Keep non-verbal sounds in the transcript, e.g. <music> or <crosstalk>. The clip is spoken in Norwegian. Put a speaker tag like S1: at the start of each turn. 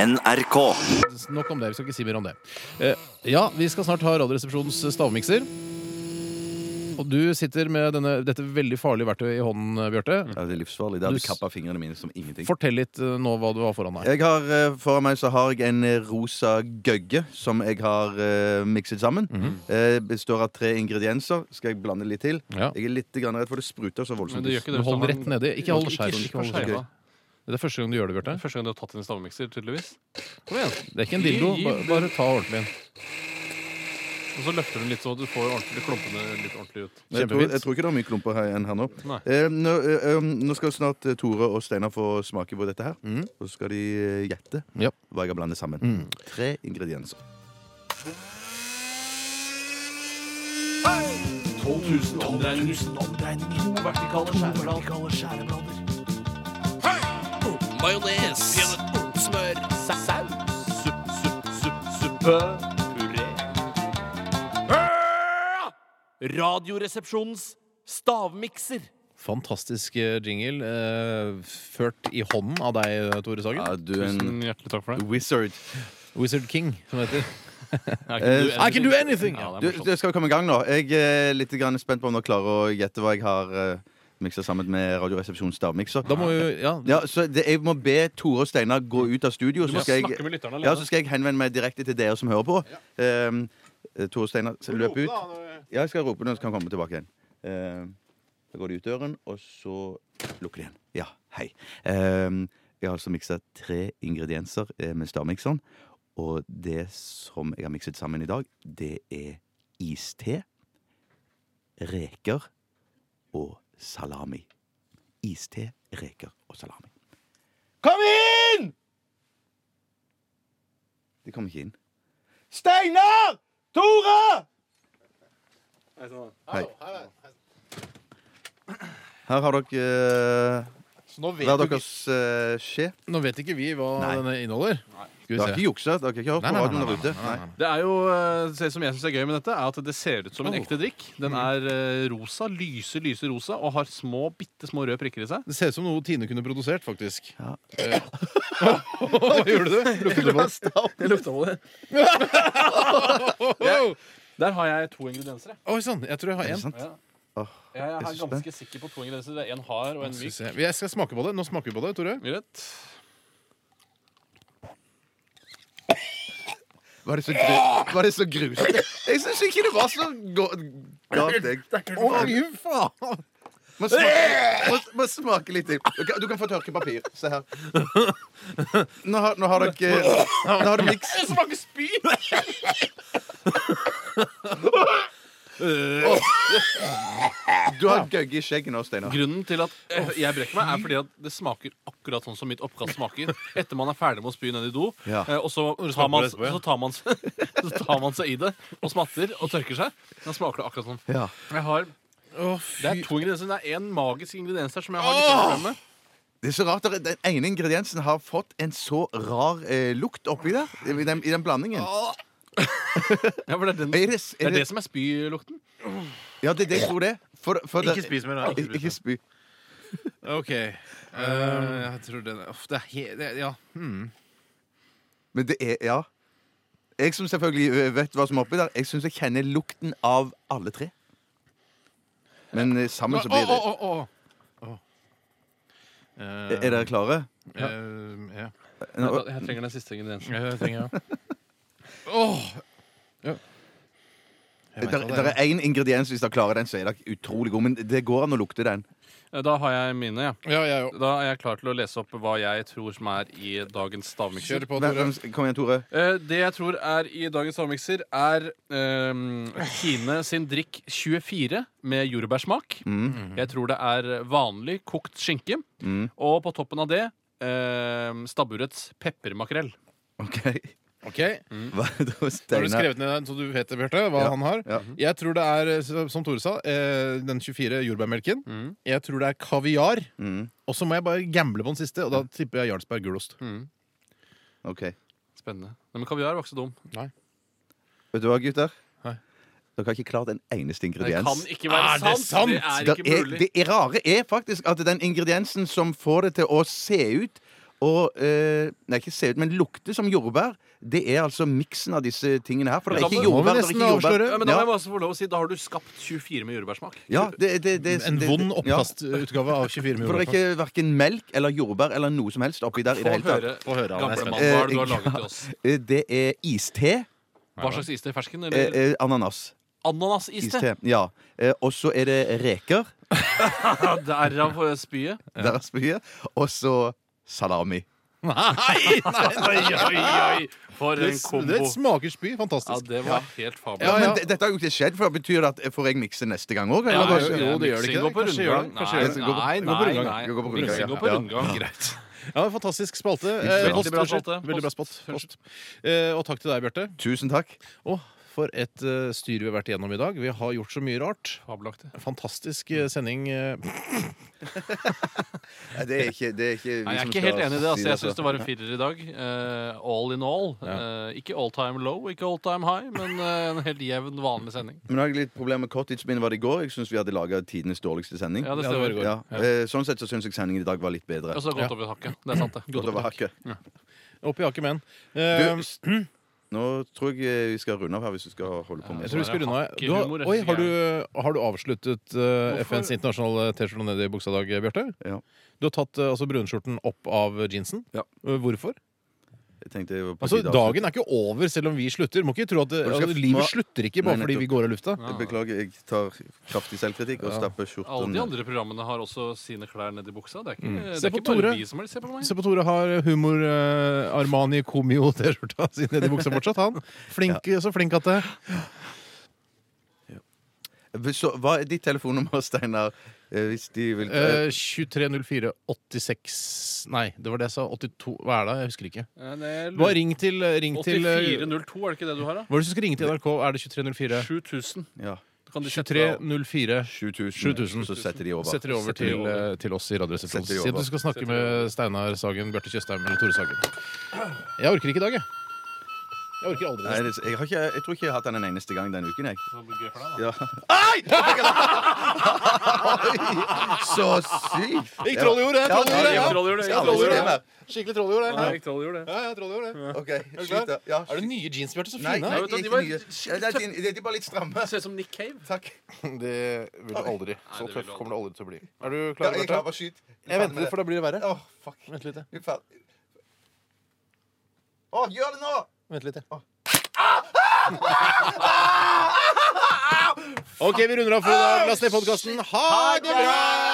S1: NRK.
S2: Nok om det. Vi skal ikke si mer om det. Eh, ja, vi skal snart ha Radioresepsjonens stavmikser. Og du sitter med denne, dette veldig farlige verktøyet i hånden, Bjarte.
S3: Ja, det er livsfarlig.
S2: Du
S3: Det hadde
S2: s-
S3: kappa fingrene mine som ingenting.
S2: Fortell litt eh, nå hva du har foran deg.
S3: Jeg har, eh, foran meg så har jeg en eh, rosa gøgge som jeg har eh, mikset sammen. Eh, består av tre ingredienser. Skal jeg blande litt til?
S2: Ja.
S3: Jeg er litt grann redd for det spruter så voldsomt.
S4: Men det gjør ikke det.
S2: Men
S4: hvis du
S2: hold
S4: har
S2: den rett
S4: en-
S2: nedi. Ikke hold skjermen.
S4: Ikke
S2: Ikke hold
S4: skjermen.
S3: skjermen.
S2: Det er første gang du gjør det,
S4: Det
S2: Bjarte.
S4: er første gang du har tatt inn stavmikser, tydeligvis. Kom igjen.
S2: Det er ikke en dildo.
S4: Gi- gi-
S2: Bare, bare ta ordentlig en.
S4: Og så løfter du den litt så du får ordentlig klumpene litt ordentlig ut.
S3: Men jeg, tror,
S2: Kjempefint.
S3: jeg tror ikke det er mye klumper her, enn her nå.
S4: Nei.
S3: Eh, nå, eh, eh, nå skal snart eh, Tore og Steinar få smake på dette her. Og så skal de eh, gjette
S2: Ja.
S3: hva jeg har blandet sammen. Tre ingredienser.
S5: 12 000 omdreininger. To vertikale skjæreblader. Majones. Smør. Saus. Supp, supp, supp, suppe. Puré. Ah! Radioresepsjonens stavmikser.
S2: Fantastisk eh, jingle eh, ført i hånden av deg, eh, Tore Sagen.
S3: Ja, du er en
S4: Tusen Mm, hjertelig takk for det.
S3: wizard.
S2: Wizard King, som
S4: <laughs>
S2: det heter.
S3: Eh,
S2: I can do anything!
S4: Ja,
S3: Du,
S4: det er morsomt.
S3: du skal vi komme i gang nå. Jeg er litt grann spent på om dere klarer å gjette hva jeg har eh, miksa sammen med Radioresepsjonens stavmikser.
S2: Da må jo Ja.
S3: Ja, så det, jeg må be Tore og Steinar gå ut av studio.
S4: Du
S3: Så
S4: må
S3: skal,
S4: snakke
S3: jeg,
S4: med lytterne liksom. alene.
S3: ja, så skal jeg henvende meg direkte til dere som hører på. Ehm, eh, Tore og Steinar, så løp ut. Ja, jeg skal rope når de kan komme tilbake igjen. Ehm, da går de ut døren, og så lukker de igjen. Ja, hei. Ehm, jeg har altså miksa tre ingredienser eh, med stavmikseren. Og det som jeg har mikset sammen i dag, det er iste, reker og salami. Iste, reker og salami. Kom inn! De kom ikke inn. Steinar! Tore! Hei. Her har dere eh,
S2: Så nå
S3: hver
S2: vet, jo
S3: deres eh, skje.
S2: ikke- nå vet ikke vi hva
S3: Nei.
S2: denne inneholder. Skal vi
S3: Dere har
S2: se.
S3: ikke juksa? Dere har ikke hørt
S2: Nei, nei,
S3: på
S2: nei,
S3: radioen
S2: nei,
S3: der ute?
S2: nei, nei,
S3: Nei.
S2: nei.
S4: Det er jo, eh, det som jeg syns er gøy med dette, er at det ser ut som en ekte drikk. Den er eh, rosa, lyse, lyse rosa, og har små, bitte små røde prikker i <laughs> seg.
S2: Det ser ut som noe Tine kunne produsert, faktisk. Eh. Hva gjorde du? Lukket du på det?
S4: <laughs> Jeg lukta på det. Der har jeg to ingredienser. Jeg,
S2: Oi sann, jeg tror jeg har
S3: Er
S2: én.
S3: det sant?
S4: jeg er
S3: Jeg synes
S4: ganske sikker på to ingredienser. Det er En hard og en
S2: Skal vi
S4: myk.
S2: se. Jeg skal smake på det. Nå smaker vi på det, Tore.
S4: Greit.
S3: Var det så, gru var det så grusomt? Jeg syns ikke det var så go- galt, jeg.
S2: Fy faen!
S3: Må smake, må, må smake litt til. Du kan, du kan få tørke papir.
S2: <laughs>
S3: Se her. Nå har, nå har dere Nå har dere miks.
S4: Det smaker spy!
S3: Du har gøgge i skjegget nå, Steinar.
S4: <laughs> Grunnen til at eh, jeg brekker meg, er fordi at det smaker akkurat sånn som mitt oppkast smaker. Etter man er ferdig med å spy ned i do,
S3: Ja.
S4: eh, og så
S2: du
S4: tar,
S2: smaker på
S4: man,
S2: det etterpå, ja.
S4: så, tar man, <laughs> så tar man seg i det og smatter og tørker seg. Da smaker det akkurat sånn.
S3: Ja.
S4: Jeg har,
S2: Å,
S4: det
S2: fy
S4: er to ingredienser. Det er én magisk ingrediens her som jeg har litt problemer med.
S3: Det er så rart, dere- Den ene ingrediensen har fått en så rar eh, lukt oppi der. I den, i den blandingen.
S2: Ah.
S4: Ja, for det er, den,
S3: Er
S4: det,
S3: det, er
S4: er det
S3: det,
S4: som er spylukten.
S3: ja, det er det jeg tror det. er. For, for det-
S2: Ikke spis mer. Nei.
S3: Ikke, Um, ikke spy.
S2: OK. Eh, jeg tror den Uff, det er he... Det, ja. Hmm.
S3: Men det er Ja. Jeg som selvfølgelig eh, vet hva som er oppi der, jeg syns jeg kjenner lukten av alle tre. Men eh, sammen så
S2: Å,
S3: blir
S2: å,
S3: det
S2: å, å. Å. Eh,
S3: Er dere klare?
S2: eh, ja.
S3: Nå,
S4: Jeg trenger den siste ingrediensen.
S2: Jeg trenger det. Åh! Ja. Jeg vet
S3: der,
S2: hva
S3: der
S2: det
S3: er én ingrediens. Hvis dere klarer den, så er dere utrolig gode. Men det går an å lukte den.
S4: Eh, Da har jeg mine, ja.
S2: Ja, jeg òg.
S4: Da er jeg klar til å lese opp hva jeg tror som er i dagens stavmikser.
S2: Kjør på,
S3: Hvem-
S2: Tore.
S3: hvem- Kom igjen, Tore.
S4: Eh, Det jeg tror er i dagens stavmikser, er ehm, Tine sin drikk 24 med jordbærsmak.
S3: Mm.
S2: Mm.
S3: Mhm.
S4: Jeg tror det er vanlig kokt skinke.
S3: Mm.
S4: Og på toppen av det ehm, stabburets peppermakrell.
S3: OK.
S2: Ok, Mm. Har
S3: Hva, da,
S2: du
S3: Steinar
S2: skrevet ned så du vet det, Bjarte, hva
S3: Ja,
S2: han har?
S3: ja.
S2: Jeg tror det er, eh, som Tore sa, eh, den 24 jordbærmelken. Jeg tror det er kaviar.
S3: Mm.
S2: Og så må jeg bare gamble på den siste, og da tipper jeg Jarlsberg gulost.
S3: OK.
S4: Spennende. Nei, men kaviar var ikke så dum.
S3: Vet du hva, gutter?
S2: Nei.
S3: Dere har ikke klart en eneste
S4: Det
S3: ingrediens.
S4: kan ikke være
S2: Er det sant?
S4: sant! Det er
S3: Der
S4: ikke
S3: er,
S4: mulig.
S3: det er rare er faktisk at den ingrediensen som får det til å se ut Og eh, Nei, ikke se ut, men lukte som jordbær. Det er altså miksen av disse tingene her. For det er
S4: Men da må-
S2: må
S3: ikke
S2: vi
S3: jordbær. Det er
S2: nesten
S3: ikke jordbær.
S2: avsløre.
S4: Ja, men da må jeg
S3: Ja,
S4: bare også få lov å si, da har du skapt 24 med jordbærsmak.
S3: ja, det, det, det,
S2: En
S3: det-
S2: vond
S3: ja.
S2: oppkastutgave av 24
S3: For det er
S2: millioner.
S3: ikke hverken melk eller jordbær eller noe som helst oppi der. i
S4: Få
S3: det hele tatt
S4: høre,
S2: Få høre, Anne, jeg er
S4: gamle
S2: spent.
S4: mann, hva
S3: <laughs>
S4: er det du har
S3: Eh,
S4: laget til oss?
S3: Eh, Det er iste.
S4: Hva slags iste? Fersken
S3: eh,
S4: eller
S3: eh, Ananas.
S4: ananasiste?
S3: Iste. Ja. Eh, Og så er det reker.
S4: Ja, <laughs> Derav eh, spyet.
S3: Der er spyet. Og så salami.
S2: Nei, nei,
S4: Oi, oi, oi! For
S2: Det,
S4: en kombo.
S2: det smaker spy.
S4: Ja,
S2: Fantastisk.
S4: det var helt fabelaktig.
S2: Ja, ja.
S3: Men det- dette har jo ikke skjedd før. Betyr det at får jeg mikse neste gang òg?
S4: Ja,
S2: Eller
S4: jo,
S2: kanskje-
S4: jo,
S2: jo, det gjør det
S4: miksing
S2: ikke.
S4: går på
S2: Kanskje gjør
S4: rundgang.
S2: det. Kanskje gjør det.
S4: Nei, nei,
S2: Gå på
S4: nei,
S2: rundgang.
S4: nei.
S3: Gå på rundgang,
S4: Miksing
S3: ja.
S4: går på
S3: Ja.
S4: rundgang.
S2: Greit. Ja, det er Fantastisk spalte.
S3: bra.
S2: Eh, post,
S4: Veldig bra
S2: unnskyld.
S4: spalte.
S2: Veldig bra spot. Post. Eh, og takk til deg, Bjarte.
S3: Tusen takk.
S2: Å, for et eh, styr vi har vært igjennom i dag. Vi har gjort så mye rart.
S4: Fabelaktig.
S2: Fantastisk eh, sending. eh.
S3: Nei, det er ikke, det er ikke vi som
S4: Nei, jeg er ikke
S3: skal
S4: helt enig i
S3: si
S4: det. Altså, jeg syns
S3: altså.
S4: det var en firer i dag. Eh, all in all. Eh, ikke all time low, ikke all time high, men eh, en helt jevn, vanlig sending.
S3: Men nå har jeg litt problemer med cottage min var det i går. Jeg syns vi hadde laga tidenes dårligste sending.
S4: Ja, det
S2: Ja, det var det
S4: stemmer.
S2: går.
S3: Ja. Eh, Sånn sett så syns jeg sendingen i dag var litt bedre.
S4: Og så har det gått over hakket. Det er sant, det.
S3: Godt over hakket.
S2: Opp i hakket med en.
S3: Du,
S2: Eh,
S3: s- nå tror jeg eh, vi skal runde av her, hvis du skal holde på med
S2: jeg tror vi skal runde av. Du
S4: Hakkehumor,
S2: har, oi,
S4: jeg synes
S2: har,
S4: jeg
S2: du, har du avsluttet eh, FNs internasjonale T-skjorte ned i buksa i dag, Bjarte?
S3: Ja.
S2: Du har tatt eh, altså brunskjorten opp av jeansen.
S3: Ja.
S2: Eh, Hvorfor?
S3: Jeg tenkte jeg var på
S2: Altså,
S3: tide å
S2: dagen er ikke over selv om vi slutter. Må ikke tro at det,
S3: Og du skal
S2: altså, Livet
S3: få-
S2: slutter ikke bare
S3: Nei,
S2: fordi vi
S3: nettopp.
S2: går av lufta.
S3: avslutte. Beklager, jeg tar kraftig selvkritikk og stapper
S4: Alle de
S3: skjorten
S4: andre programmene har også sine klær nedi buksa. Det er ikke, det
S2: Mm. Se på
S4: er ikke bare
S2: Tore.
S4: vi som har det. Se på meg.
S2: Se på Tore har humor eh, Armani <laughs> Comio-T-skjorta si nedi buksa fortsatt. Han flink, Så flink at det
S3: Eh, Så, Hva er ditt telefonnummer, Steinar? Eh, Hvis de vil
S2: eh, 230486 Nei, det var det jeg sa. 82 Hva er det? Jeg husker ikke. Bare ring til, ring til eh,
S4: 8402, er det ikke det du har, da?
S2: Hva er det du skal ringe til NRK? Er det 2304?
S4: 7000.
S3: Ja.
S4: Kan de sette deg av?
S2: 2304
S3: 7000.
S2: 7000.
S3: Så setter de over.
S2: Setter de over
S4: Setter de
S2: til,
S4: over.
S2: eh, til oss i Radioresepsjonen.
S3: Setter de
S2: Si at
S3: over.
S2: du skal snakke
S4: Setter de
S2: med Steinar Sagen, Bjarte Tjøstheim eller Tore Sagen. Jeg orker ikke i dag, jeg. Jeg orker aldri
S3: Nei,
S2: det.
S3: det, jeg, har ikke, jeg tror ikke jeg har hatt den en eneste gang denne uken, jeg.
S4: Så blir det gøy for deg, da.
S3: Ja. Oi, så sykt!
S2: Jeg trolljord, jeg. Trolljord,
S3: Ja,
S2: jeg.
S3: ja.
S4: Trolljord, jeg.
S3: Skal alle
S4: Trolljord,
S3: gjøre
S4: jeg.
S3: det med?
S2: Skikkelig trolljord,
S4: Nei,
S2: jeg.
S4: jeg tror det gjør det.
S2: Ja, jeg trolljord, jeg.
S3: Ok,
S2: du
S3: skyt
S2: klar?
S3: da. Ja,
S2: Er det
S3: skyt.
S2: nye jeans, Bjarte? Så
S3: Nei,
S2: fine.
S3: nei,
S4: vet du,
S3: de
S4: de
S3: er
S4: var-
S3: ikke nye. Ja, det er din- det er de bare litt stramme.
S4: Ser ut som Nick Cave.
S3: Takk.
S2: <laughs> Det vil du aldri. Så
S4: det vil du
S2: tøff
S4: aldri.
S2: kommer du aldri til å bli. Er du
S3: Ja,
S2: klar,
S3: jeg klarer
S2: Bjarte?
S3: å skyte.
S2: Jeg venter litt, for da blir det verre.
S3: Åh, fuck.
S2: Vent litt, jeg.
S3: Vi er ferdig. Åh, gjør det nå!
S2: Vent litt, jeg. OK, vi runder av for i dag. Last ned podkasten. Ha det bra!